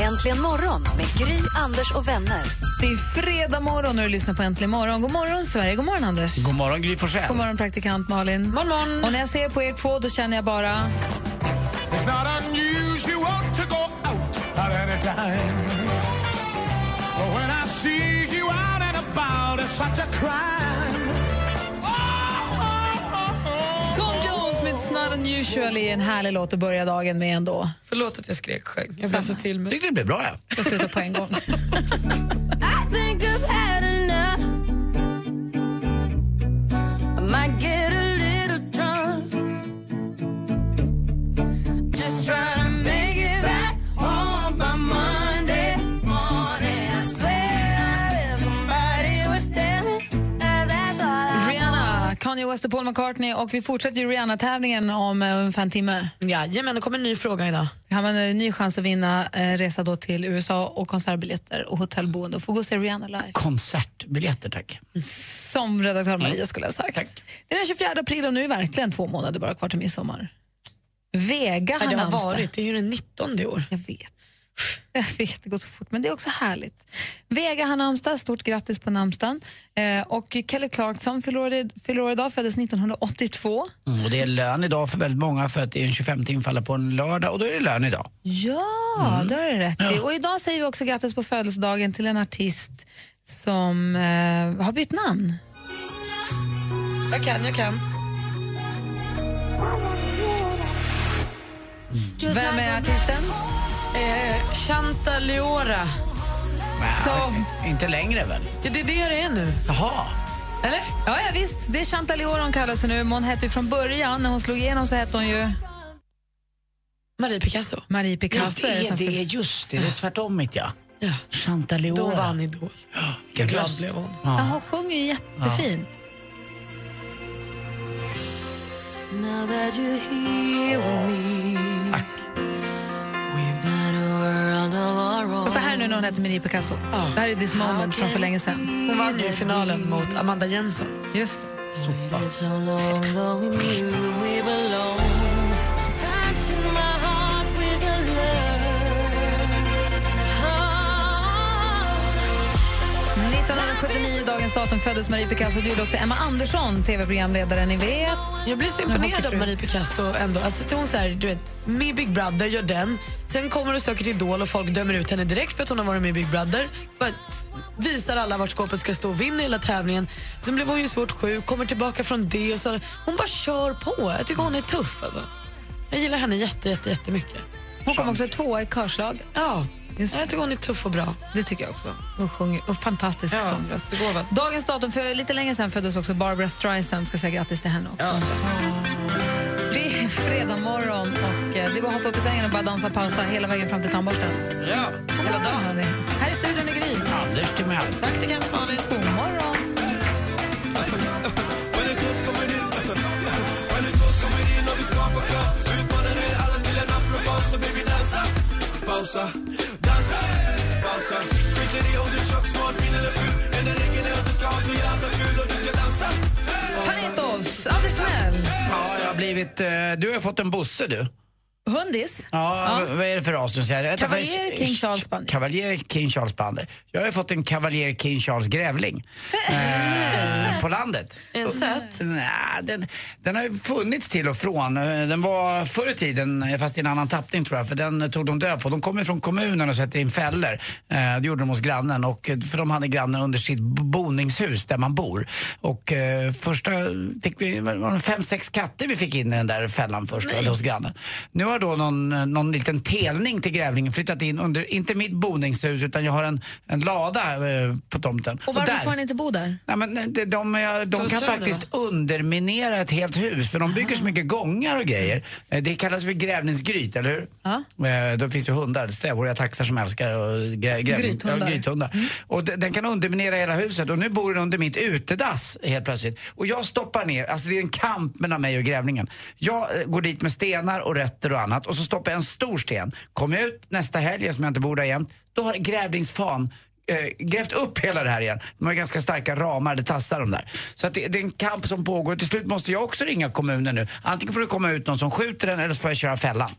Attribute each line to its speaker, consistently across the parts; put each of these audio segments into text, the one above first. Speaker 1: Äntligen morgon med Gry, Anders och vänner.
Speaker 2: Det är fredag morgon och du lyssnar på Äntligen morgon. God morgon, Sverige. God morgon, Anders.
Speaker 3: God morgon Gry Forssell.
Speaker 2: God morgon, praktikant Malin.
Speaker 4: Morgon, morgon.
Speaker 2: Och när jag ser på er två då känner jag bara...
Speaker 5: It's not unusual to go out at any time. But when I see you out and about, it's such a crime. Oh, oh, oh, oh.
Speaker 2: Tom Jones med It's Not Unusual är en härlig låt att börja dagen med ändå.
Speaker 6: Förlåt att jag skrek sjöng. Jag blev så till
Speaker 3: Jag
Speaker 6: mig.
Speaker 3: tyckte det blev bra. Ja.
Speaker 2: Ska sluta på en gång.
Speaker 7: I think I've had enough. I might get a little drunk. Just trying to make it back home by Monday morning. I swear I wish somebody would tell me that that's all I
Speaker 2: Rihanna, Kanye West och Paul McCartney. Och vi fortsätter ju Rihanna-tävlingen om eh, ungefär en timme.
Speaker 6: Jajamän, det kommer en ny fråga idag.
Speaker 2: Här har man en ny chans att vinna eh, resa då till USA och konsertbiljetter och hotellboende och få gå och se Rihanna live.
Speaker 3: Konsertbiljetter tack.
Speaker 2: Som redaktör Maria skulle ha sagt.
Speaker 3: Tack.
Speaker 2: Det är den 24 april och nu är verkligen två månader bara kvar till midsommar. Vega
Speaker 6: Nej,
Speaker 2: har
Speaker 6: det har
Speaker 2: namnsdag.
Speaker 6: varit, det är ju den 19 i år.
Speaker 2: Jag vet. Jag vet, det går så fort, men det är också härligt. Vega har namnsdag, stort grattis på namnsdagen. Eh, och Kelly Clarkson förlorade, förlorade idag, föddes 1982.
Speaker 3: Mm, och det är lön idag för väldigt många för att det är en 25 infaller på en lördag och då är det lön idag.
Speaker 2: Ja, det har du rätt i. Och idag säger vi också grattis på födelsedagen till en artist som eh, har bytt namn.
Speaker 6: Jag kan, jag kan.
Speaker 2: Vem är artisten?
Speaker 6: Eh, Chanta Leora.
Speaker 2: Så,
Speaker 3: Inte längre väl?
Speaker 6: Ja, det är det det är nu.
Speaker 3: Jaha.
Speaker 6: Eller?
Speaker 2: ja, ja, visst, det är Chantal Leora hon kallar sig nu. men Hon hette ju från början, när hon slog igenom så hette hon ju
Speaker 6: Marie Picasso.
Speaker 2: Marie
Speaker 3: Ja,
Speaker 2: Picasso.
Speaker 3: det, är,
Speaker 2: som
Speaker 3: det är just det, det är tvärtom mitt ja.
Speaker 6: Ja.
Speaker 3: Chantal Leora.
Speaker 6: Då vann Idol.
Speaker 3: Vilken
Speaker 6: Glad
Speaker 3: röst.
Speaker 6: blev hon.
Speaker 2: Ja,
Speaker 3: Ja.
Speaker 2: hon sjunger ju jättefint.
Speaker 7: want. Now that you're here with me,
Speaker 3: Tack.
Speaker 7: we've got a world of our own.
Speaker 2: Fast det här nu när hon heter Marie Picasso. Det här är This moment från för länge sedan.
Speaker 6: Hon vann ju finalen mot Amanda Jensen.
Speaker 2: Just det.
Speaker 7: It's so long, though we knew we belong. Touching my heart with a love.
Speaker 2: 1979, dagens datum, föddes Marie Picasso. Du gjorde också Emma Andersson, tv-programledare, ni vet.
Speaker 6: Jag blir så imponerad av Marie Picasso ändå. Alltså, till hon så här, du vet, med i Big Brother gör den. Sen kommer och söker till Idol och folk dömer ut henne direkt för att hon har varit med i Big Brother. Bara s- visar alla vart skåpet ska stå och vinner hela tävlingen. Sen blev hon ju svårt sjuk, kommer tillbaka från det och så. Hon bara kör på. Jag tycker hon är tuff alltså. Jag gillar henne jätte, jätte, jättemycket.
Speaker 2: Hon kom också tvåa i körslaget.
Speaker 6: Ja,
Speaker 2: Just det.
Speaker 6: jag tycker hon är tuff och bra.
Speaker 2: Det tycker jag också. Hon sjunger och fantastisk sångröst.
Speaker 6: begåvad.
Speaker 2: Dagens datum, för lite länge sedan föddes också Barbara Streisand. Ska säga grattis till henne också. Det är fredag morgon och eh, det är bara att hoppa upp i sängen och bara dansa och pausa hela vägen fram till tandborsten.
Speaker 3: Ja.
Speaker 2: Hela dagen. Här i studion är Gry.
Speaker 3: Anders till mig.
Speaker 6: Praktikant Malin.
Speaker 2: God morgon. Panetos, Anders Timell,
Speaker 3: Ja, jag har blivit, eh, du har fått en Bosse du.
Speaker 2: Hundis.
Speaker 3: Ja,
Speaker 2: Ja.
Speaker 3: v- vad är det för ras nu säger?
Speaker 2: Kavaljer, King Charles Spanier.
Speaker 3: Kavaljer King Charles Spanier. Jag har ju fått en Kavaljer King Charles Grävling. eh, på landet.
Speaker 6: Är den söt?
Speaker 3: Nej, den, den har ju funnits till och från. Eh, Den var förr i tiden, eh, fast i en annan tappning tror jag, för den eh, tog de död på. De kommer från kommunen och sätter in fällor. Eh, det gjorde de hos grannen, och, eh, för de hade grannen under sitt b- boningshus där man bor. Och eh, första fick vi, var det fem, sex katter vi fick in i den där fällan först, eller hos grannen. Nu har gör då någon, eh, någon liten telning till grävlingen, flyttat in under, inte mitt boningshus utan jag har en, en lada eh, på tomten.
Speaker 2: Och varför
Speaker 3: där-
Speaker 2: får han inte bo där?
Speaker 3: Nej, men eh, de, de, de, är- de
Speaker 7: De
Speaker 3: kan
Speaker 7: kör det,
Speaker 3: faktiskt underminera ett helt hus för de bygger så mycket gångar och grejer. Eh, Det kallas för grävningsgryt, eller hur?
Speaker 2: Ja.
Speaker 3: Eh, Då finns ju hundar, strävhåriga taxar som älskar och grä, grä,
Speaker 2: Grythundar.
Speaker 3: Ja, grythundar. Och de, den kan underminera hela huset och nu bor den under mitt utedass helt plötsligt. Och jag stoppar ner, alltså det är en kamp mellan mig och grävlingen. Jag eh, går dit med stenar och rötter och annat och så stoppar jag en stor sten. Kommer ut nästa helg, som jag inte bor där jämt, då har grävlingsfan eh, grävt upp hela det här igen. De har ganska starka ramar, det tassar de där. Så att det, det är en kamp som pågår. Till slut måste jag också ringa kommunen nu. Antingen får det komma ut någon som skjuter den eller så får jag köra fällan.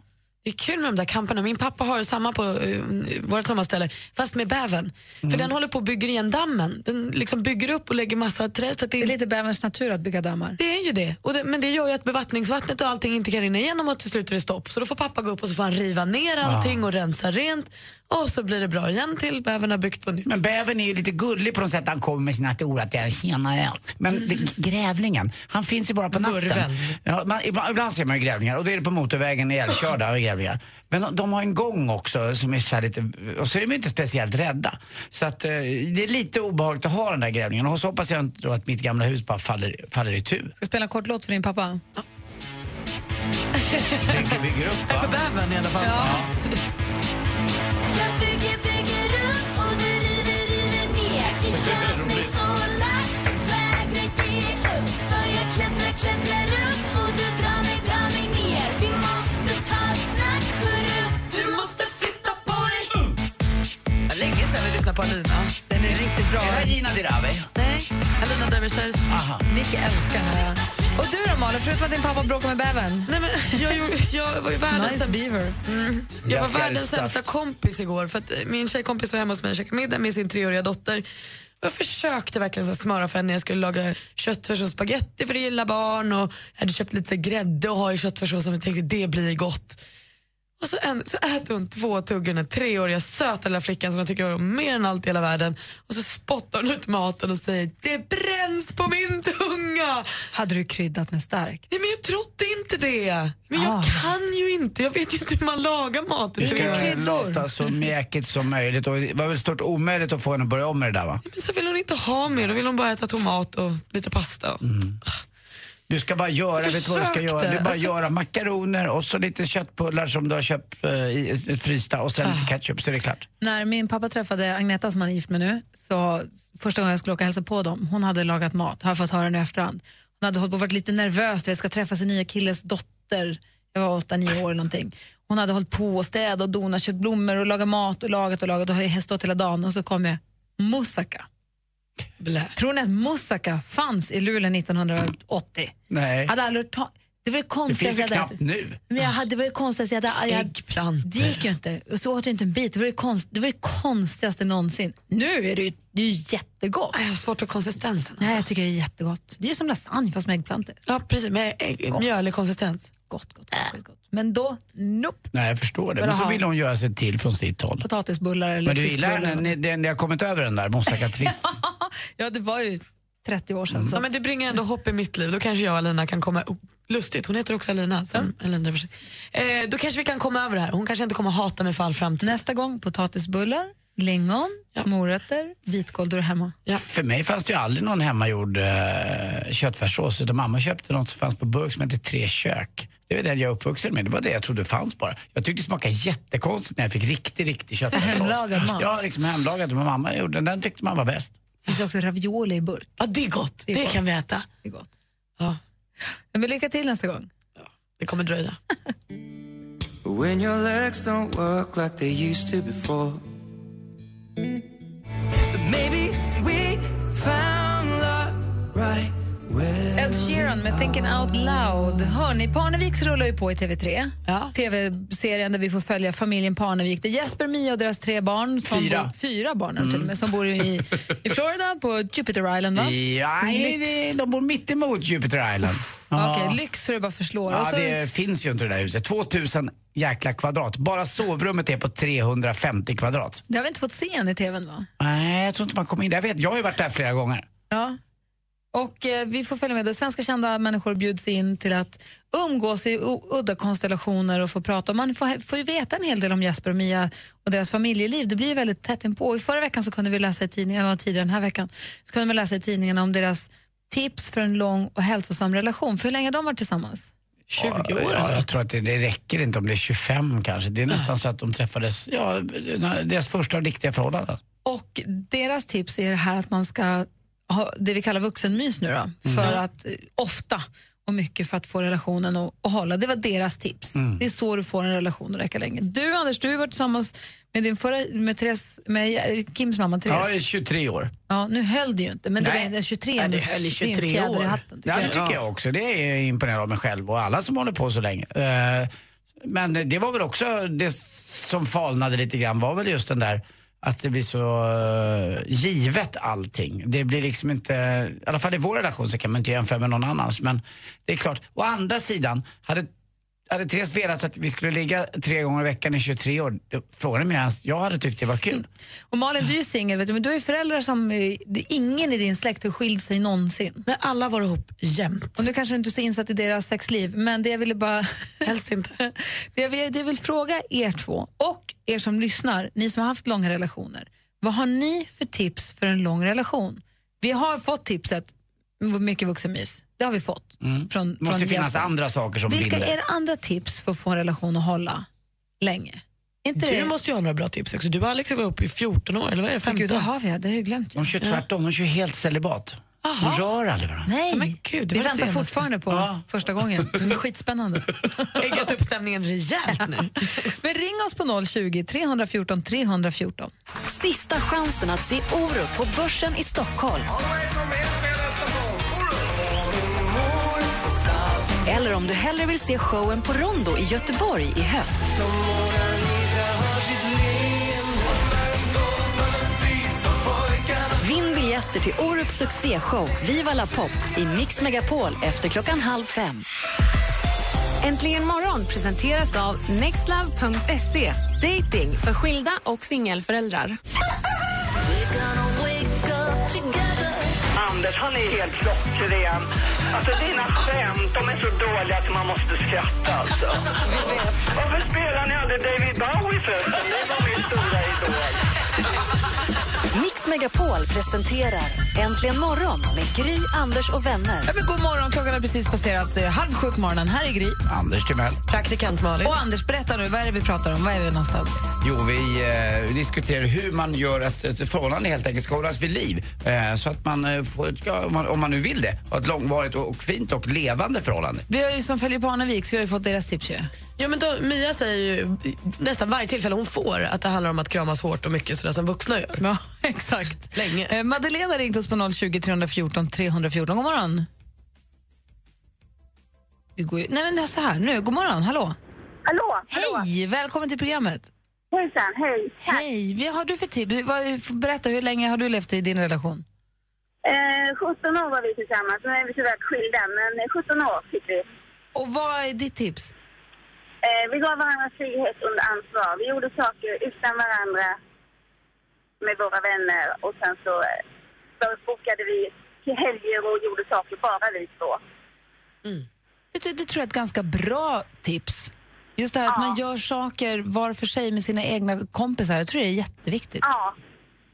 Speaker 7: Det är kul med de där kamperna. Min pappa har samma på uh, vårt sommarställe, fast med bäven. För den håller på och bygger igen dammen. Den liksom bygger upp och lägger massa träd. Så att det,
Speaker 2: Det är
Speaker 7: är
Speaker 2: lite bäverns natur att bygga dammar.
Speaker 7: det är ju det. Och det. Men det gör ju att bevattningsvattnet och allting inte kan rinna igenom och till slut är det stopp. Så då får pappa gå upp och så får han riva ner allting och rensa rent. Och så blir det bra igen till bäven har byggt på nytt.
Speaker 3: Men bävern är ju lite gullig på något sätt. Han kommer med sina stora tänder. Tjenare. Men det, grävlingen, han finns ju bara på natten.
Speaker 7: Vurven.
Speaker 3: Ja, man, ibland, ibland ser man ju grävlingar och då är det på motorvägen ihjälkörda av grävlingar. Men de, de har en gång också som är så här lite, och så är de ju inte speciellt rädda. Så att eh, det är lite obehagligt att ha den där grävlingen och så hoppas jag inte då att mitt gamla hus bara faller, faller i tu.
Speaker 2: Ska jag spela en kort låt för din pappa?
Speaker 3: Bygger, bygger upp
Speaker 7: För
Speaker 3: va?
Speaker 7: bäven i alla fall.
Speaker 6: Jag bygger, bygger upp och du river, river ner Du gör mig så lack, du vägrar ge upp Börjar klättra, klättrar upp och du drar mig, drar mig ner Vi måste ta ett snack, hörru Du måste flytta på dig
Speaker 7: Det var länge sedan vi lyssnade på Alina.
Speaker 2: Den är riktigt bra.
Speaker 3: Är det Gina Dirawi?
Speaker 7: Nej, Alina Dervishares.
Speaker 3: Aha.
Speaker 2: Nick älskar den här. Och du då Malin, förutom att din pappa bråkar med bävern?
Speaker 7: Nej, men jag, gjorde, jag var ju världens
Speaker 2: Nice
Speaker 7: sämsta-
Speaker 2: beaver.
Speaker 7: Jag var
Speaker 3: Ganska
Speaker 7: världens
Speaker 3: starkt.
Speaker 7: sämsta kompis igår för att eh, min tjejkompis var hemma hos mig och käkade middag med sin treåriga dotter. Och Jag försökte verkligen så här smöra för henne när jag skulle laga köttfärs och spagetti för det gillar barn och jag hade köpt lite så här grädde och ha i köttfärssåsen och tänkte det blir gott. Och så, en, så äter hon två tuggor, den här treåriga söta lilla flickan som jag tycker om mer än allt i hela världen. Och så spottar hon ut maten och säger det bränns på min tunga.
Speaker 2: Hade du kryddat med starkt?
Speaker 7: Nej, men jag trodde inte det. Men jag
Speaker 2: Ah.
Speaker 7: kan ju inte. Jag vet ju inte hur man lagar mat. i
Speaker 3: Det
Speaker 7: tre år.
Speaker 3: ska
Speaker 2: kryddor.
Speaker 3: låta så mjäkigt som möjligt och det var väl stort omöjligt att få henne att börja om med det där va?
Speaker 7: Men så vill hon inte ha mer, då vill hon bara äta tomat och lite pasta.
Speaker 3: Du ska bara göra, Mm. vet du vad du ska
Speaker 7: försökte.
Speaker 3: göra? Du bara
Speaker 7: Alltså-
Speaker 3: göra makaroner och så lite köttbullar som du har köpt eh, i, frysta och sen
Speaker 2: Ah.
Speaker 3: lite ketchup så är det klart.
Speaker 2: När min pappa träffade Agneta som han är gift med nu, så första gången jag skulle åka och hälsa på dem, hon hade lagat mat, har jag fått höra nu i efterhand. Hon hade hållit på och varit lite nervös, du vet, ska träffa sin nya killes dotter, jag var åtta, nio år eller någonting. Hon hade hållit på och städat och donat, köpt blommor och lagat mat och lagat och lagat och har stått hela dagen och så kom jag, moussaka.
Speaker 7: Blä.
Speaker 2: Tror ni att moussaka fanns i Luleå 1980?
Speaker 3: Nej,
Speaker 2: Hade aldrig hört ta- det var det
Speaker 3: det
Speaker 2: konstigaste
Speaker 3: finns ju
Speaker 2: jag hade
Speaker 3: knappt
Speaker 2: ätit.
Speaker 3: nu.
Speaker 2: Men jag hade, det var det konstigaste jag hade, jag hade
Speaker 7: Äggplant.
Speaker 2: det gick ju inte. Och så åt jag inte en bit. Det var det, konst, det, var det konstigaste någonsin. Nu är det ju, det är ju jättegott.
Speaker 7: Nej, Jag har svårt för konsistensen.
Speaker 2: Nej, jag tycker det är jättegott. Det är som lasagne fast med äggplantor.
Speaker 7: Ja, precis. Med ägg, mjölig konsistens.
Speaker 2: Gott, gott, gott, gott, gott. Men då, nope.
Speaker 3: Nej, jag förstår det.
Speaker 2: Bara
Speaker 3: Men så
Speaker 2: ha.
Speaker 3: vill hon göra sig till från sitt håll.
Speaker 2: Potatisbullar eller
Speaker 3: Men du gillar
Speaker 2: fiskbullar.
Speaker 3: henne? Ni, den- ni har kommit över den där moussaka-tvisten?
Speaker 2: Ja, det var ju 30 år sedan. Så.
Speaker 7: Ja, men det bringar ändå hopp i mitt liv. Då kanske jag och Alina kan komma... Oh, lustigt, hon heter också Alina. Som
Speaker 2: Mm.
Speaker 7: Alina för sig. eh, då kanske vi kan komma över det här. Hon kanske inte kommer hata mig för all framtid.
Speaker 2: Nästa gång, potatisbullar, lingon, morötter, vitkål. Då är det hemma.
Speaker 3: För mig fanns det ju aldrig någon hemmagjord eh, köttfärssås utan mamma köpte något som fanns på burk som hette Tre kök. Det var den jag är uppvuxen med. Det var det jag trodde fanns bara. Jag tyckte det smakade jättekonstigt när jag fick riktig, riktig köttfärssås.
Speaker 2: Hemlagad mat.
Speaker 3: Ja, liksom hemlagad. Men mamma gjorde den. Den tyckte man var bäst.
Speaker 2: Det finns ju också ravioli i burk.
Speaker 7: Ja, det är gott. Det,
Speaker 2: är gott.
Speaker 7: kan vi äta.
Speaker 2: Det är gott.
Speaker 7: Ja,
Speaker 2: Ja, Men lycka till nästa gång.
Speaker 7: det kommer dröja.
Speaker 8: When your legs don't work like they used to before. But maybe we found love right where.
Speaker 2: Ed Sheeran med Thinking Out Loud. Hörni, Parneviks rullar ju på i TV3.
Speaker 7: Ja.
Speaker 2: TV-serien där vi får följa familjen Parnevik. Det är Jesper, Mia och deras tre barn. Som
Speaker 3: Fyra. Mm.
Speaker 2: Bor, fyra barn är de till och med, som bor i, i Florida på Jupiter Island. Va?
Speaker 3: Ja, nej, det- de bor mittemot Jupiter Island. Ja.
Speaker 2: Okej, lyx så det bara förslår.
Speaker 3: Ja,
Speaker 2: och så,
Speaker 3: det finns ju inte det där huset. 2000 jäkla kvadrat. Bara sovrummet är på 350 kvadrat.
Speaker 2: det har vi inte fått se än i TVn va?
Speaker 3: Nej, jag tror inte man kommer in där. Jag, vet, jag har ju varit där flera gånger.
Speaker 2: Ja. Och eh, vi får följa med. Och Svenska kända människor bjuds in till att umgås i o- udda konstellationer och få prata. Och man får, får ju veta en hel del om Jesper och Mia och deras familjeliv. Det blir ju väldigt tätt inpå. I förra veckan så kunde vi läsa i tidningen, eller tidigare den här veckan, så kunde vi läsa i tidningen om deras tips för en lång och hälsosam relation. För hur länge har de varit tillsammans?
Speaker 7: 20 år? Ja, jag tror att det, det räcker inte om det är 25 kanske. Det är nästan så att de träffades, ja, deras första riktiga förhållande.
Speaker 2: Och deras tips är det här att man ska ha det vi kallar vuxenmys nu då,
Speaker 7: Mm.
Speaker 2: för att eh, ofta och mycket för att få relationen att, att hålla. Det var deras tips.
Speaker 7: Mm.
Speaker 2: Det är så du får en relation att räcka länge. Du Anders, du har varit tillsammans med, din förra, med, Therese, med eh, Kims mamma
Speaker 7: Ja, i
Speaker 2: Therese.
Speaker 7: 23 år.
Speaker 2: Ja, nu höll det ju inte, men det
Speaker 7: Nej.
Speaker 2: var ändå 23.
Speaker 9: Nej, det
Speaker 2: men
Speaker 9: höll i
Speaker 2: är en
Speaker 9: 23
Speaker 2: fjäder i
Speaker 9: år.
Speaker 2: hatten, tycker
Speaker 7: Ja, det
Speaker 2: jag.
Speaker 7: tycker jag också. Det är imponerande av mig själv och alla som håller på så länge. Eh, Men det var väl också det som falnade lite grann var väl just den där att det blir så eh, givet allting. Det blir liksom inte, i alla fall i vår relation så kan man inte jämföra med någon annans. Men det är klart, å andra sidan, hade, hade Therese velat att vi skulle ligga tre gånger i veckan i 23 år, då- frågan är om jag ens, jag hade tyckt det var
Speaker 2: Mm.
Speaker 7: kul.
Speaker 2: Och Malin, du är ju singel, vet du, men du har ju föräldrar som... eh, det är Ingen i din släkt har skilt sig någonsin.
Speaker 4: När alla var ihop jämt.
Speaker 2: Och nu kanske inte är så insatt i deras sexliv, men det jag ville bara... Helst inte. det, jag vill, det jag vill fråga er två och er som lyssnar, ni som har haft långa relationer. Vad har ni för tips för en lång relation? Vi har fått tipset, mycket vuxenmys. Det har vi fått. Från,
Speaker 7: Det Mm. måste ju
Speaker 2: från
Speaker 7: finnas
Speaker 2: gästen.
Speaker 7: andra saker som
Speaker 2: Vilka
Speaker 7: binder.
Speaker 2: är andra tips för att få en relation att hålla länge? Inte
Speaker 4: Du
Speaker 2: det?
Speaker 4: måste ju ha några bra tips också. Du har Alex var ihop i 14 år, eller vad är det?
Speaker 2: Åh, Gud,
Speaker 4: 15?
Speaker 2: det har vi, det har jag ju glömt. ju.
Speaker 7: De kör tvärtom, de kör helt celibat. De rör aldrig varandra.
Speaker 2: Nej,
Speaker 4: Men gud, det
Speaker 2: vi
Speaker 4: var det
Speaker 2: väntar
Speaker 4: senaste.
Speaker 2: fortfarande på
Speaker 7: Ja.
Speaker 2: första gången. Så det är skitspännande.
Speaker 4: Äggat upp stämningen rejält nu.
Speaker 2: Men ring oss på 020 314 314.
Speaker 1: Sista chansen att se Orup på Börsen i Stockholm. Eller om du hellre vill se showen på Rondo i Göteborg i höst. Vinn biljetter till Orups succéshow Viva La Pop i Mix Megapol efter klockan halv fem.
Speaker 6: Äntligen morgon presenteras av nextlove.se. Dating för skilda och singelföräldrar.
Speaker 5: Anders, han är helt klockren. Alltså dina skämt, de är så dåliga att man måste skratta alltså. Varför spelar ni aldrig David Bowie förresten? Det var min stora idol.
Speaker 1: Mix Megapol presenterar Äntligen morgon med Gry, Anders och vänner.
Speaker 2: Ja, men god morgon, klockan har precis passerat eh, halv sju på morgonen. Här är Gry.
Speaker 7: Anders Timell.
Speaker 4: Praktikant Malin.
Speaker 2: Och Anders, berätta nu, vad är det vi pratar om? Vad är vi någonstans?
Speaker 7: Jo, vi eh, diskuterar hur man gör att ett förhållande helt enkelt ska hållas vid liv. Eh, så att man, eh, får, ett- ja, om man, om man nu vill det, ha ett långvarigt och, och fint och levande förhållande.
Speaker 2: Vi har ju som följer Parnevik, så vi har ju fått deras tips ju.
Speaker 4: Ja, men då, Mia säger ju nästan varje tillfälle hon får att det handlar om att kramas hårt och mycket sådär som vuxna gör.
Speaker 2: Ja, exakt.
Speaker 4: Länge.
Speaker 2: Eh, Madeleine har ringt oss på 020 314 314. God morgon. Det går ju... Nej, men så här nu. God morgon, hallå.
Speaker 6: Hallå!
Speaker 2: Hej, välkommen till programmet.
Speaker 6: Hejsan, hej.
Speaker 2: Hej, vad har du för tips? Vad- Berätta, hur länge har du levt i din relation?
Speaker 6: Eh, 17 år var vi tillsammans, nu är vi tyvärr skilda, men eh, 17 år fick vi.
Speaker 2: Och vad är ditt tips?
Speaker 6: Eh, vi gav varandra frihet under ansvar. Vi gjorde saker utan varandra med våra vänner och sen så, eh, så bokade vi till helger och gjorde saker bara vi två.
Speaker 2: Det, det, det tror jag är ett ganska bra tips. Just det här att man gör saker var för sig med sina egna kompisar. Jag tror det är jätteviktigt.
Speaker 6: Ja,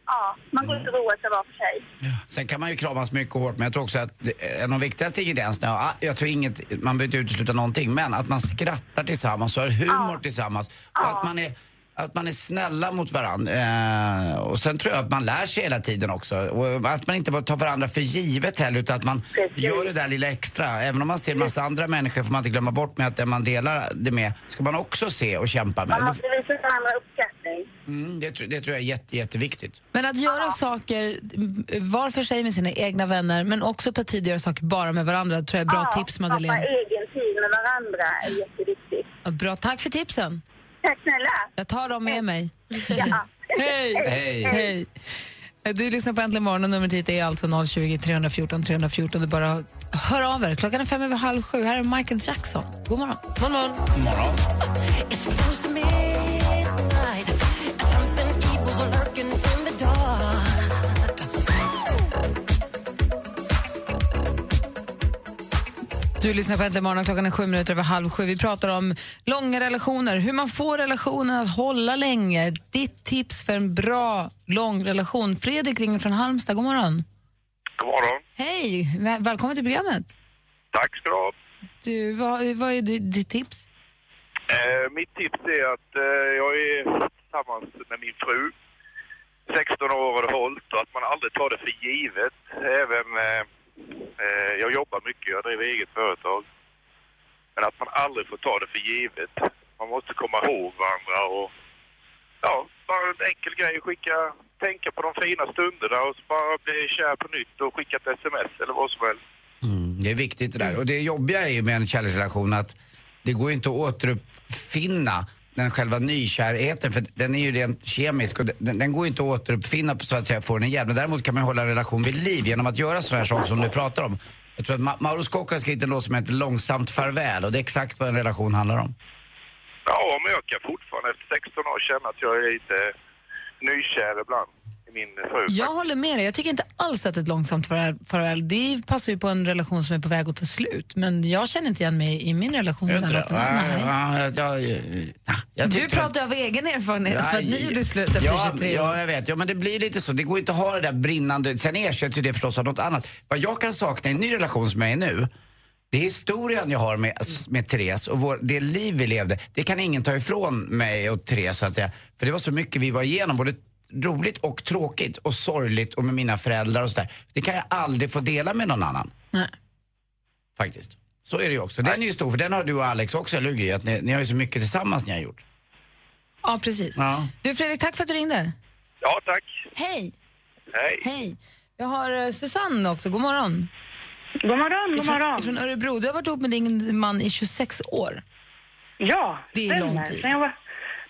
Speaker 6: ja. man går ut och roar sig var för sig.
Speaker 7: Sen kan man ju kramas mycket hårt, men jag tror också att det, en av de viktigaste ingredienserna, ja, jag tror inget, man behöver inte utesluta någonting, men att man skrattar tillsammans och har humor tillsammans. Och att man är att man är snälla mot varandra. Eh, och sen tror jag att man lär sig hela tiden också. Och att man inte bara tar varandra för givet heller utan att man
Speaker 6: Precis.
Speaker 7: gör det där lilla extra. Även om man ser en massa andra människor får man inte glömma bort med att den man delar det med ska man också se och kämpa
Speaker 6: Man
Speaker 7: med.
Speaker 6: måste visa varandra uppskattning.
Speaker 7: Mm, det, tr- det tror jag är jätte, jätteviktigt.
Speaker 2: Men att göra saker m, var för sig med sina egna vänner men också ta tid att göra saker bara med varandra tror jag är bra
Speaker 6: ja,
Speaker 2: tips, Madeleine.
Speaker 6: Skapa egen tid med varandra är jätteviktigt.
Speaker 2: Ja, Bra, tack för tipsen.
Speaker 6: Tack snälla.
Speaker 2: Jag tar dem med mig.
Speaker 6: Ja.
Speaker 2: Hej!
Speaker 7: Hej.
Speaker 2: Hej! Du lyssnar på Äntligen morgon och numret hit är alltså 020 314 314. Du bara hör av er. Klockan är fem över halv sju. Här är Michael Jackson. God morgon.
Speaker 4: Man, man.
Speaker 2: Du lyssnar på Äntligen morgon, klockan är sju minuter över halv sju. Vi pratar om långa relationer, hur man får relationen att hålla länge. Ditt tips för en bra, lång relation. Fredrik ringer från Halmstad, god morgon.
Speaker 9: God morgon.
Speaker 2: Hej, väl- välkommen till programmet.
Speaker 9: Tack ska du ha.
Speaker 2: Du, vad, vad är du- ditt tips?
Speaker 9: Eh, mitt tips är att eh, jag är tillsammans med min fru. 16 år har det hållit och att man aldrig tar det för givet. Även, eh, eh, jag jobbar mycket, jag driver eget företag. Men att man aldrig får ta det för givet. Man måste komma ihåg varandra och ja, bara en enkel grej. Skicka, tänka på de fina stunderna och så bara bli kär på nytt och skicka ett sms eller vad som helst.
Speaker 7: Mm, det är viktigt det där. Och det jobbiga är ju med en kärleksrelation att det går ju inte att återuppfinna den själva nykärheten, för den är ju rent kemisk och den, den går ju inte att återuppfinna på så att säga, få den igen. Men däremot kan man ju hålla en relation vid liv genom att göra sådana här saker som du pratar om. Jag tror att Ma- Mauro Scocca har skrivit en låt som heter Långsamt farväl och det är exakt vad en relation handlar om.
Speaker 9: Ja, men jag kan fortfarande efter 16 år känna att jag är lite nykär ibland i min fru.
Speaker 2: Jag håller med dig, jag tycker inte alls att ett långsamt farväl- farväl, det passar ju på en relation som är på väg att ta slut. Men jag känner inte igen mig i min relation
Speaker 7: Gör
Speaker 2: med
Speaker 7: inte
Speaker 2: den
Speaker 7: det?
Speaker 2: låten. Nej.
Speaker 7: Ja, ja, ja, ja, ja. Jag
Speaker 2: Du
Speaker 7: tycker-
Speaker 2: pratar av egen erfarenhet för att ni
Speaker 7: Ja,
Speaker 2: gjorde slut efter
Speaker 7: ja,
Speaker 2: 23 år.
Speaker 7: Ja, jag vet. Ja, men det blir lite så. Det går inte att ha det där brinnande. Sen ersätts ju det förstås av något annat. Vad jag kan sakna i en ny relation som jag är nu, det är historien jag har med, med Therese och vår, det liv vi levde. Det kan ingen ta ifrån mig och Therese så att säga. För det var så mycket vi var igenom. Både roligt och tråkigt och sorgligt och med mina föräldrar och sådär. Det kan jag aldrig få dela med någon annan.
Speaker 2: Nej.
Speaker 7: Faktiskt. Så är det ju också. Den är ju stor, för den har du och Alex också, eller hur? Gry? Att ni, ni har ju så mycket tillsammans ni har gjort.
Speaker 2: Ja, precis.
Speaker 7: Ja.
Speaker 2: Du Fredrik, tack för att du ringde.
Speaker 9: Ja, tack.
Speaker 2: Hej!
Speaker 9: Hej.
Speaker 2: Hej. Jag har eh, Susanne också, god morgon.
Speaker 10: God morgon, god morgon.
Speaker 2: Från Örebro. Du har varit ihop med din man i 26 år.
Speaker 10: Ja,
Speaker 2: Det är
Speaker 10: stämmer.
Speaker 2: lång tid.
Speaker 10: Sen jag var,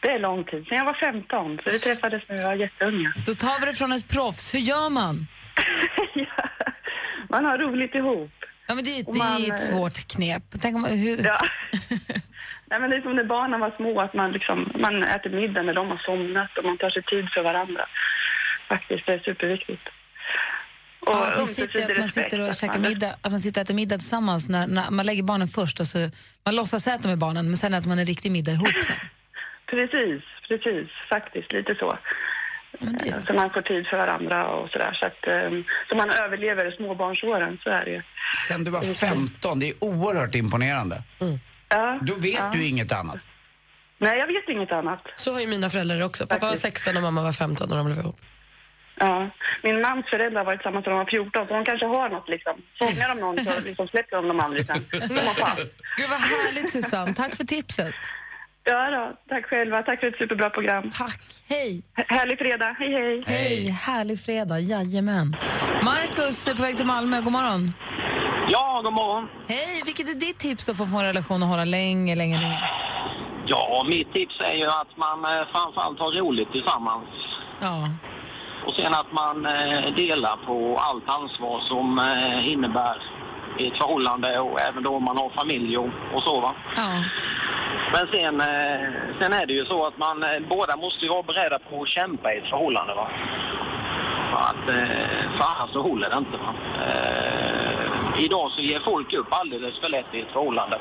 Speaker 10: det är lång tid. Sen jag var 15, så vi träffades när vi var jätteunga.
Speaker 2: Då tar vi det från ett proffs. Hur gör man?
Speaker 10: Man har roligt ihop.
Speaker 2: Ja, men det, är-
Speaker 10: Och
Speaker 2: det
Speaker 10: man,
Speaker 2: är ett
Speaker 10: eh,
Speaker 2: svårt knep. Tänk om, hur...
Speaker 10: Ja. Nej, men det är som när barnen var små, att man, liksom, man äter middag när de har somnat och man tar sig tid för varandra. Faktiskt, det är superviktigt. Och
Speaker 2: Ja, att, man
Speaker 10: ömsesidig
Speaker 2: sitter, att man
Speaker 10: respekt,
Speaker 2: sitter och
Speaker 10: att
Speaker 2: käkar
Speaker 10: man-
Speaker 2: middag, att man sitter och äter middag tillsammans. När, när man lägger barnen först och så, man låtsas äta med barnen men sen äter man en riktig middag ihop sen.
Speaker 10: Precis, precis. Faktiskt, lite så.
Speaker 2: Eh,
Speaker 10: Så man får tid för varandra och sådär. Så, att, ehm, så man överlever småbarnsåren, så är det ju.
Speaker 7: Sen du var 15, det är oerhört imponerande.
Speaker 2: Mm.
Speaker 10: Ja,
Speaker 7: Då vet
Speaker 10: ja.
Speaker 7: du inget annat.
Speaker 10: Nej, jag vet inget annat.
Speaker 4: Så har ju mina föräldrar också. Pappa var 16 och mamma var 15 när de blev ihop.
Speaker 10: Ja. Min mans föräldrar har varit tillsammans när de var 14, så de kanske har något liksom. Fångar de någon så liksom släpper de de andra sen. De har fan.
Speaker 2: Gud vad härligt Susanne, tack för tipset.
Speaker 10: Ja då, tack själva. Tack för ett superbra program.
Speaker 2: Tack. Hej.
Speaker 10: Härlig fredag. Hej, hej.
Speaker 2: Hej, härlig fredag, jajamän. Markus är på väg till Malmö, god morgon.
Speaker 3: Ja, god morgon.
Speaker 2: Hej, vilket är ditt tips då för att få en relation att hålla länge, länge, länge?
Speaker 3: Ja, mitt tips är ju att man eh, framförallt har roligt tillsammans.
Speaker 2: Ja.
Speaker 3: Och sen att man eh, delar på allt ansvar som eh, innebär ett förhållande och även då om man har familj och, och så va.
Speaker 2: Ja.
Speaker 3: Men sen, eh, sen är det ju så att man eh, båda måste ju vara beredda på att kämpa i ett förhållande va. För att eh, för annars så håller det inte va. Eh, idag så ger folk upp alldeles för lätt i ett förhållande.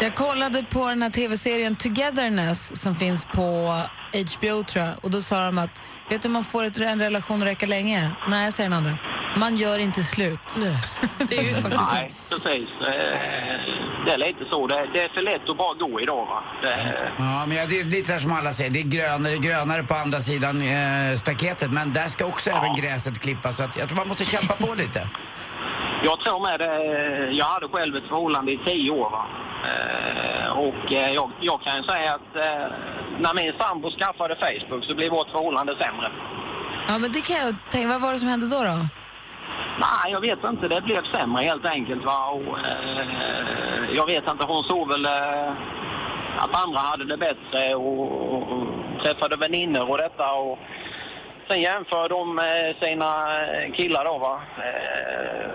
Speaker 2: Jag kollade på den här tv-serien Togetherness som finns på HBO tror jag och då sa de att vet du hur man får ett, en relation att räcka länge? Nej, säger den andra. Man gör inte slut.
Speaker 4: Det är ju faktiskt
Speaker 3: Nej, precis. Eh, Det är lite så. Det det är för lätt att bara gå idag. Va? Det, eh,
Speaker 7: Ja, men ja, det är lite så här som alla säger, det är grönare, grönare på andra sidan eh, staketet. Men där ska också även gräset klippas, så att jag tror man måste kämpa på lite.
Speaker 3: jag tror med det. Jag hade själv ett förhållande i tio år. Va? Eh, Och eh, jag, jag kan ju säga att eh, när min sambo skaffade Facebook så blev vårt förhållande sämre.
Speaker 2: Ja, men det kan jag tänka. Vad var det som hände då? då?
Speaker 3: Nej, jag vet inte. Det blev sämre helt enkelt. Va? Och, eh, jag vet inte. Hon såg väl eh, att andra hade det bättre och, och, och träffade väninnor och detta. Och, sen jämför de eh, sina killar då. Va? Eh,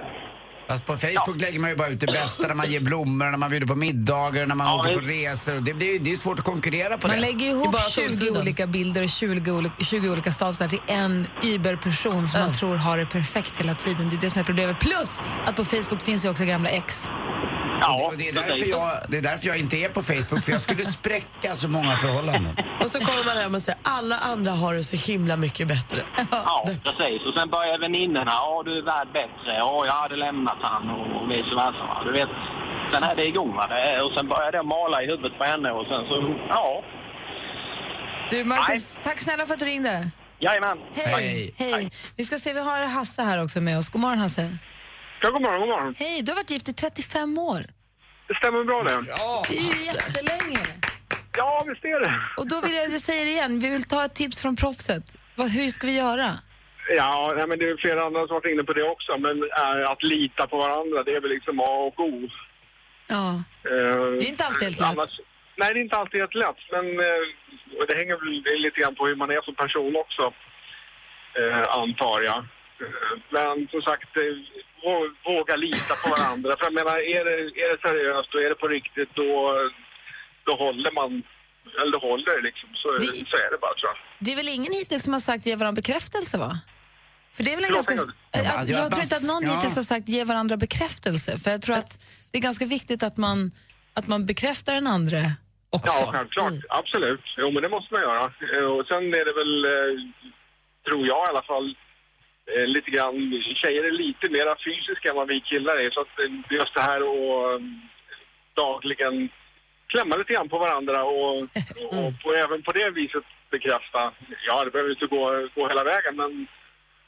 Speaker 7: Fast på Facebook lägger man ju bara ut det bästa när man ger blommor, när man bjuder på middagar, när man åker på resor. Och det, det, är- det är svårt att konkurrera på
Speaker 2: Man
Speaker 7: det.
Speaker 2: lägger ihop 20 olika bilder och 20 olika, 20 olika statusar till en Uber-person som man tror har det perfekt hela tiden. Det är det som är problemet. Plus att på Facebook finns ju också gamla ex.
Speaker 7: Ja, det, det, är därför
Speaker 3: precis.
Speaker 7: jag, det är därför jag inte är på Facebook, för jag skulle spräcka så många förhållanden.
Speaker 4: Och så kommer man hem och säger alla andra har det så himla mycket bättre.
Speaker 3: Ja, precis. Och sen börjar väninnorna. Ja, du är värd bättre. Ja, jag hade lämnat han och och vice versa. va. Du vet, sen är det igång. Va? Det är- Och sen börjar det mala i huvudet på henne och sen så, ja.
Speaker 2: Du, Marcus, tack snälla för att du ringde.
Speaker 3: Jajamän.
Speaker 2: Hej. Hej. Vi ska se, vi har Hasse här också med oss. God morgon, Hasse.
Speaker 11: Ja, god morgon, god morgon.
Speaker 2: Hej, du har varit gift i 35 år.
Speaker 11: Det stämmer bra det.
Speaker 2: Det är ju jättelänge.
Speaker 11: Ja, visst är det.
Speaker 2: Och då vill jag, jag säger det igen, vi vill ta ett tips från proffset. Vad, hur ska vi göra?
Speaker 11: Ja, nej, men det är flera andra som har varit inne på det också, men eh, att lita på varandra, det är väl liksom A och O.
Speaker 2: Ja.
Speaker 11: Eh,
Speaker 2: Det är inte alltid helt lätt.
Speaker 11: Annars, nej, det är inte alltid helt lätt, men eh, och det hänger väl lite grann på hur man är som person också, eh, antar jag. Eh, Men som sagt, eh, vå- våga lita på varandra. För jag menar, är det, är det seriöst och är det på riktigt, då, då håller man, eller då håller det liksom. Så, så är det bara, tror jag.
Speaker 2: Det är väl ingen hittills som har sagt ge varandra bekräftelse, va? För det är väl en
Speaker 11: Förlåt,
Speaker 2: ganska...
Speaker 11: jag-
Speaker 2: Äh,
Speaker 11: Alltså, jag-
Speaker 2: Jag tror inte att någon
Speaker 11: ja.
Speaker 2: hittills har sagt ge varandra bekräftelse, för jag tror att det är ganska viktigt att man, att man bekräftar den andra. Alltså.
Speaker 11: Ja, självklart. Absolut. Jo, men det måste man göra. Eh, Och sen är det väl, eh, tror jag i alla fall, eh, lite grann, tjejer är lite mer fysiska än vad vi killar är. Så att eh, det är just det här och eh, dagligen klämma lite grann på varandra och, och på, även på det viset bekräfta. Ja, det behöver ju inte gå, gå hela vägen, men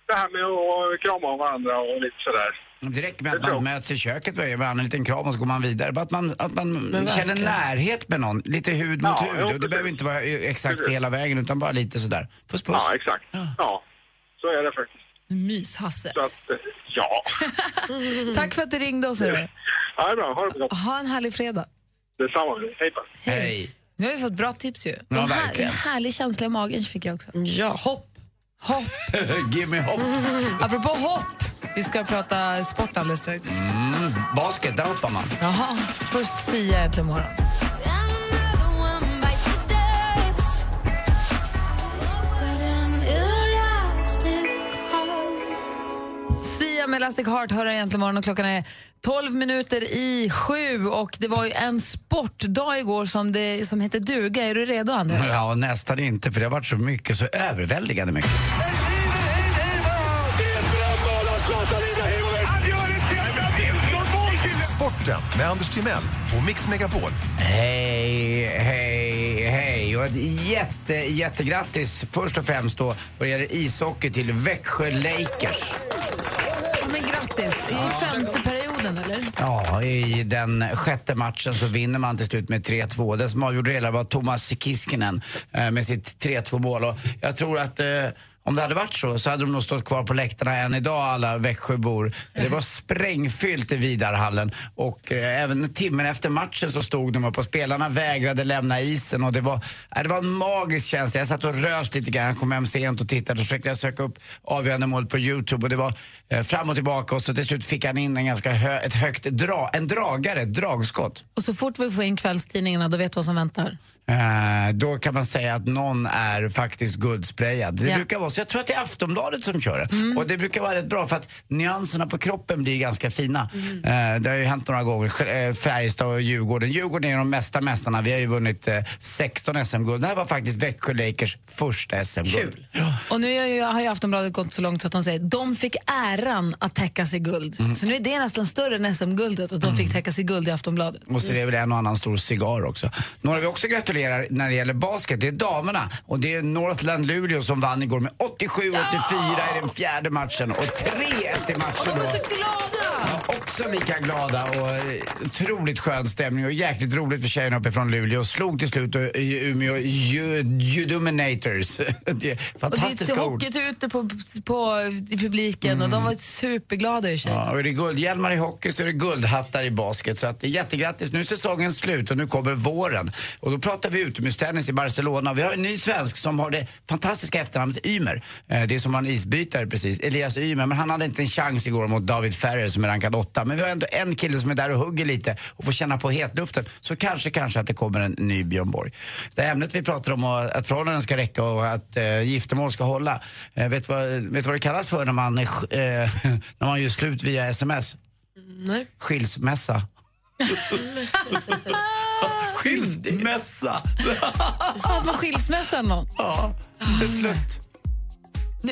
Speaker 11: det här med att krama om varandra och lite sådär.
Speaker 7: Det räcker med att man möts i köket och ger varandra en liten kram och så går man vidare. Bara att man, att man
Speaker 11: Men
Speaker 7: känner
Speaker 11: verkligen.
Speaker 7: närhet med någon, lite hud mot
Speaker 11: Ja,
Speaker 7: hud.
Speaker 11: jo,
Speaker 7: och det
Speaker 11: precis.
Speaker 7: behöver inte vara eh, exakt
Speaker 11: Precis.
Speaker 7: hela vägen utan bara lite sådär. Puss puss.
Speaker 11: Ja, exakt. Ja, så är det faktiskt.
Speaker 2: Mys-Hasse.
Speaker 11: Så att, eh, ja. Mm.
Speaker 2: Tack för att du ringde oss. hörru.
Speaker 11: Ja, det är bra. Ha det bra.
Speaker 2: Ha en härlig fredag.
Speaker 11: Detsamma. Hej på
Speaker 7: Hej.
Speaker 2: Nu har vi fått bra tips ju.
Speaker 7: Ja,
Speaker 2: en, här, en
Speaker 7: verkligen.
Speaker 2: härlig känsla i magen fick jag också. Ja, hopp. Hopp.
Speaker 7: Give me hopp.
Speaker 2: Apropå hopp, vi ska prata sport alldeles strax.
Speaker 7: Mm, basket, där hoppar man.
Speaker 2: Jaha, först Sia äntligen morgon. Sia med Elastic Heart hör här egentligen morgon och klockan är 12 minuter i sju och det var ju en sportdag igår som, det, som hette duga. Är du redo Anders?
Speaker 7: Ja, nästan inte för det har varit så mycket, så överväldigande mycket.
Speaker 12: Sporten med Anders Timell och Mix Megapol.
Speaker 7: Hej, hej, hej. Och ett jätte, jättegrattis först och främst då vad gäller ishockey till Växjö Lakers.
Speaker 2: Ja, Men grattis, i femte perioden eller?
Speaker 7: Ja, i den sjätte matchen så vinner man till slut med 3-2. Den som avgjorde det hela var Thomas Kiskinen eh, med sitt 3-2 mål. Och jag tror att eh, om det hade varit så så hade de nog stått kvar på läktarna än idag alla Växjöbor. Det var sprängfyllt i Vidarhallen och eh, även timmen efter matchen så stod de upp och spelarna vägrade lämna isen och det var, eh, det var en magisk känsla. Jag satt och röst lite grann, kom hem sent och tittade och försökte jag söka upp avgörande målet på Youtube och det var eh, fram och tillbaka och så till slut fick han in en ganska hö, ett högt dra, en dragare, ett dragskott.
Speaker 2: Och så fort vi får in kvällstidningarna då vet du vad som väntar.
Speaker 7: Eh, då kan man säga att någon är faktiskt guldsprayad. Det
Speaker 2: Ja.
Speaker 7: brukar vara så. Jag tror att det är Aftonbladet som kör det. Och det brukar vara rätt bra för att nyanserna på kroppen blir ganska fina. Eh, det har ju hänt några gånger. Sk- eh, Färjestad och Djurgården. Djurgården är de mesta mästarna. Vi har ju vunnit eh, 16 SM-guld. Det här var faktiskt Växjö Lakers första SM-guld.
Speaker 2: Och nu har ju, har ju Aftonbladet gått så långt så att de säger de fick äran att täckas i guld.
Speaker 7: Mm.
Speaker 2: Så nu är det nästan större än SM-guldet att de fick täckas i guld i Aftonbladet.
Speaker 7: Och så är det väl en och annan stor cigarr också. Några vi också gratulerar när det gäller basket, det är damerna. Och det är Northland Luleå som vann igår med 87-84 i den fjärde matchen. Och 3-1 i matchen då.
Speaker 2: glada!
Speaker 7: Också lika glada och eh, otroligt skön stämning och jäkligt roligt för tjejerna uppifrån Luleå. Slog till slut eh, i Umeå Ju- Judominators. Det är
Speaker 2: Och det
Speaker 7: fantastiska
Speaker 2: är
Speaker 7: ord. Mm.
Speaker 2: hockeyt ute på, på, i publiken och de var superglada i sig.
Speaker 7: Ja, och är det guldhjälmar i hockey så är det guldhattar i basket. Så att, eh, jättegrattis. Nu är säsongen slut och nu kommer våren. Och då pratar vi utomhustennis i Barcelona. Vi har en ny svensk som har det fantastiska efternamnet Ymer. Eh, Det är som en isbrytare precis. Elias Ymer. Men han hade inte en chans igår mot David Ferrer som är rankad åtta. Men vi har ändå en kille som är där och hugger lite och får känna på hetluften. Så kanske, kanske att det kommer en ny Björn Borg. Det här ämnet vi pratar om, och att förhållanden ska räcka och att eh, giftermål ska hålla. Eh, vet du vad, vet du vad det kallas för när man, är, sk- eh, när man gör slut via sms?
Speaker 4: Nej.
Speaker 7: Skilsmässa. Skilsmässa!
Speaker 2: Att man skilsmässa eller något.
Speaker 7: Ja, det är slut.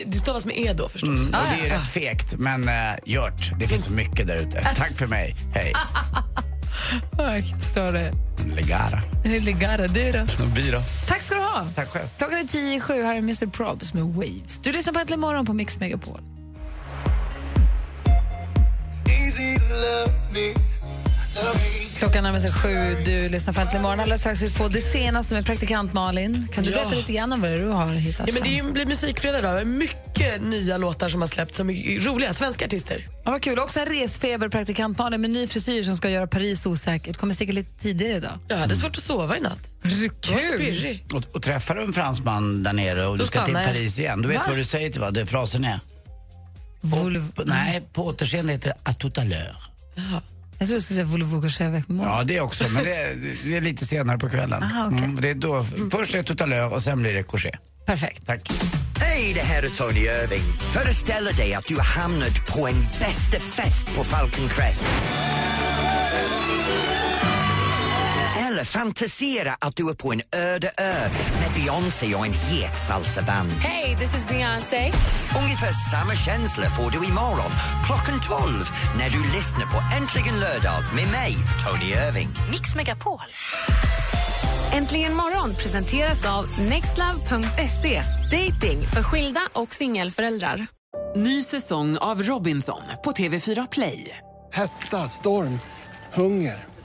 Speaker 13: Det stavas med E då förstås.
Speaker 7: Mm, och det är ju rätt fegt, men uh, gjort. Det finns så mycket där ute. Tack för mig. Hej.
Speaker 2: Högt står det.
Speaker 7: Legara.
Speaker 2: Ligara, du då?
Speaker 7: Vi då?
Speaker 2: Tack ska du ha.
Speaker 7: Tack själv.
Speaker 2: Klockan är tio i sju. Här är Mr Probs med Waves. Du lyssnar på Äntligen morgon på Mix Megapol. Klockan närmar sig sju. Du lyssnar på Äntligen morgon. Alldeles strax vi får det senaste med praktikant Malin. Kan du
Speaker 13: Ja.
Speaker 2: berätta lite grann om vad det är du har hittat
Speaker 13: Ja, men det är
Speaker 2: fram?
Speaker 13: ju, blir musikfredag idag. Det är Mycket nya låtar som har släppts som är roliga svenska artister.
Speaker 2: Ja, vad kul. Också en resfeber praktikant Malin med ny frisyr som ska göra Paris osäkert. Kommer sticka lite tidigare idag.
Speaker 13: Jag hade svårt att sova i natt. Jag var så pirrig.
Speaker 7: Och, och träffar du en fransman där nere och
Speaker 13: Då
Speaker 7: du ska till
Speaker 13: stannar jag.
Speaker 7: Paris igen, du vet
Speaker 13: Va?
Speaker 7: vad du säger till vad det frasen är? På, nej, på återseende heter det à tout à l'heure.
Speaker 2: Jag tror du skulle säga Volvo och Chevek
Speaker 7: Ja, det också, men det, är- det är lite senare på kvällen. Mm,
Speaker 2: Aha, okej.
Speaker 7: det är då, först är det tout à l'heure och sen blir det couché.
Speaker 2: Perfekt.
Speaker 7: Tack.
Speaker 1: Hej, det här är Tony Irving. Föreställ dig att du har hamnat på en bästa fest på Falcon Crest. Eller fantisera att du är på en öde ö med Beyoncé och en het salsaband.
Speaker 14: Hey, this is Beyonce.
Speaker 1: Ungefär samma känsla får du imorgon klockan 12 när du lyssnar på Äntligen lördag med mig, Tony Irving.
Speaker 15: Mix Megapol. Äntligen morgon presenteras av nextlove.se. Dating för skilda och singelföräldrar.
Speaker 4: Ny säsong av Robinson på TV4 Play.
Speaker 16: Hetta, storm, hunger.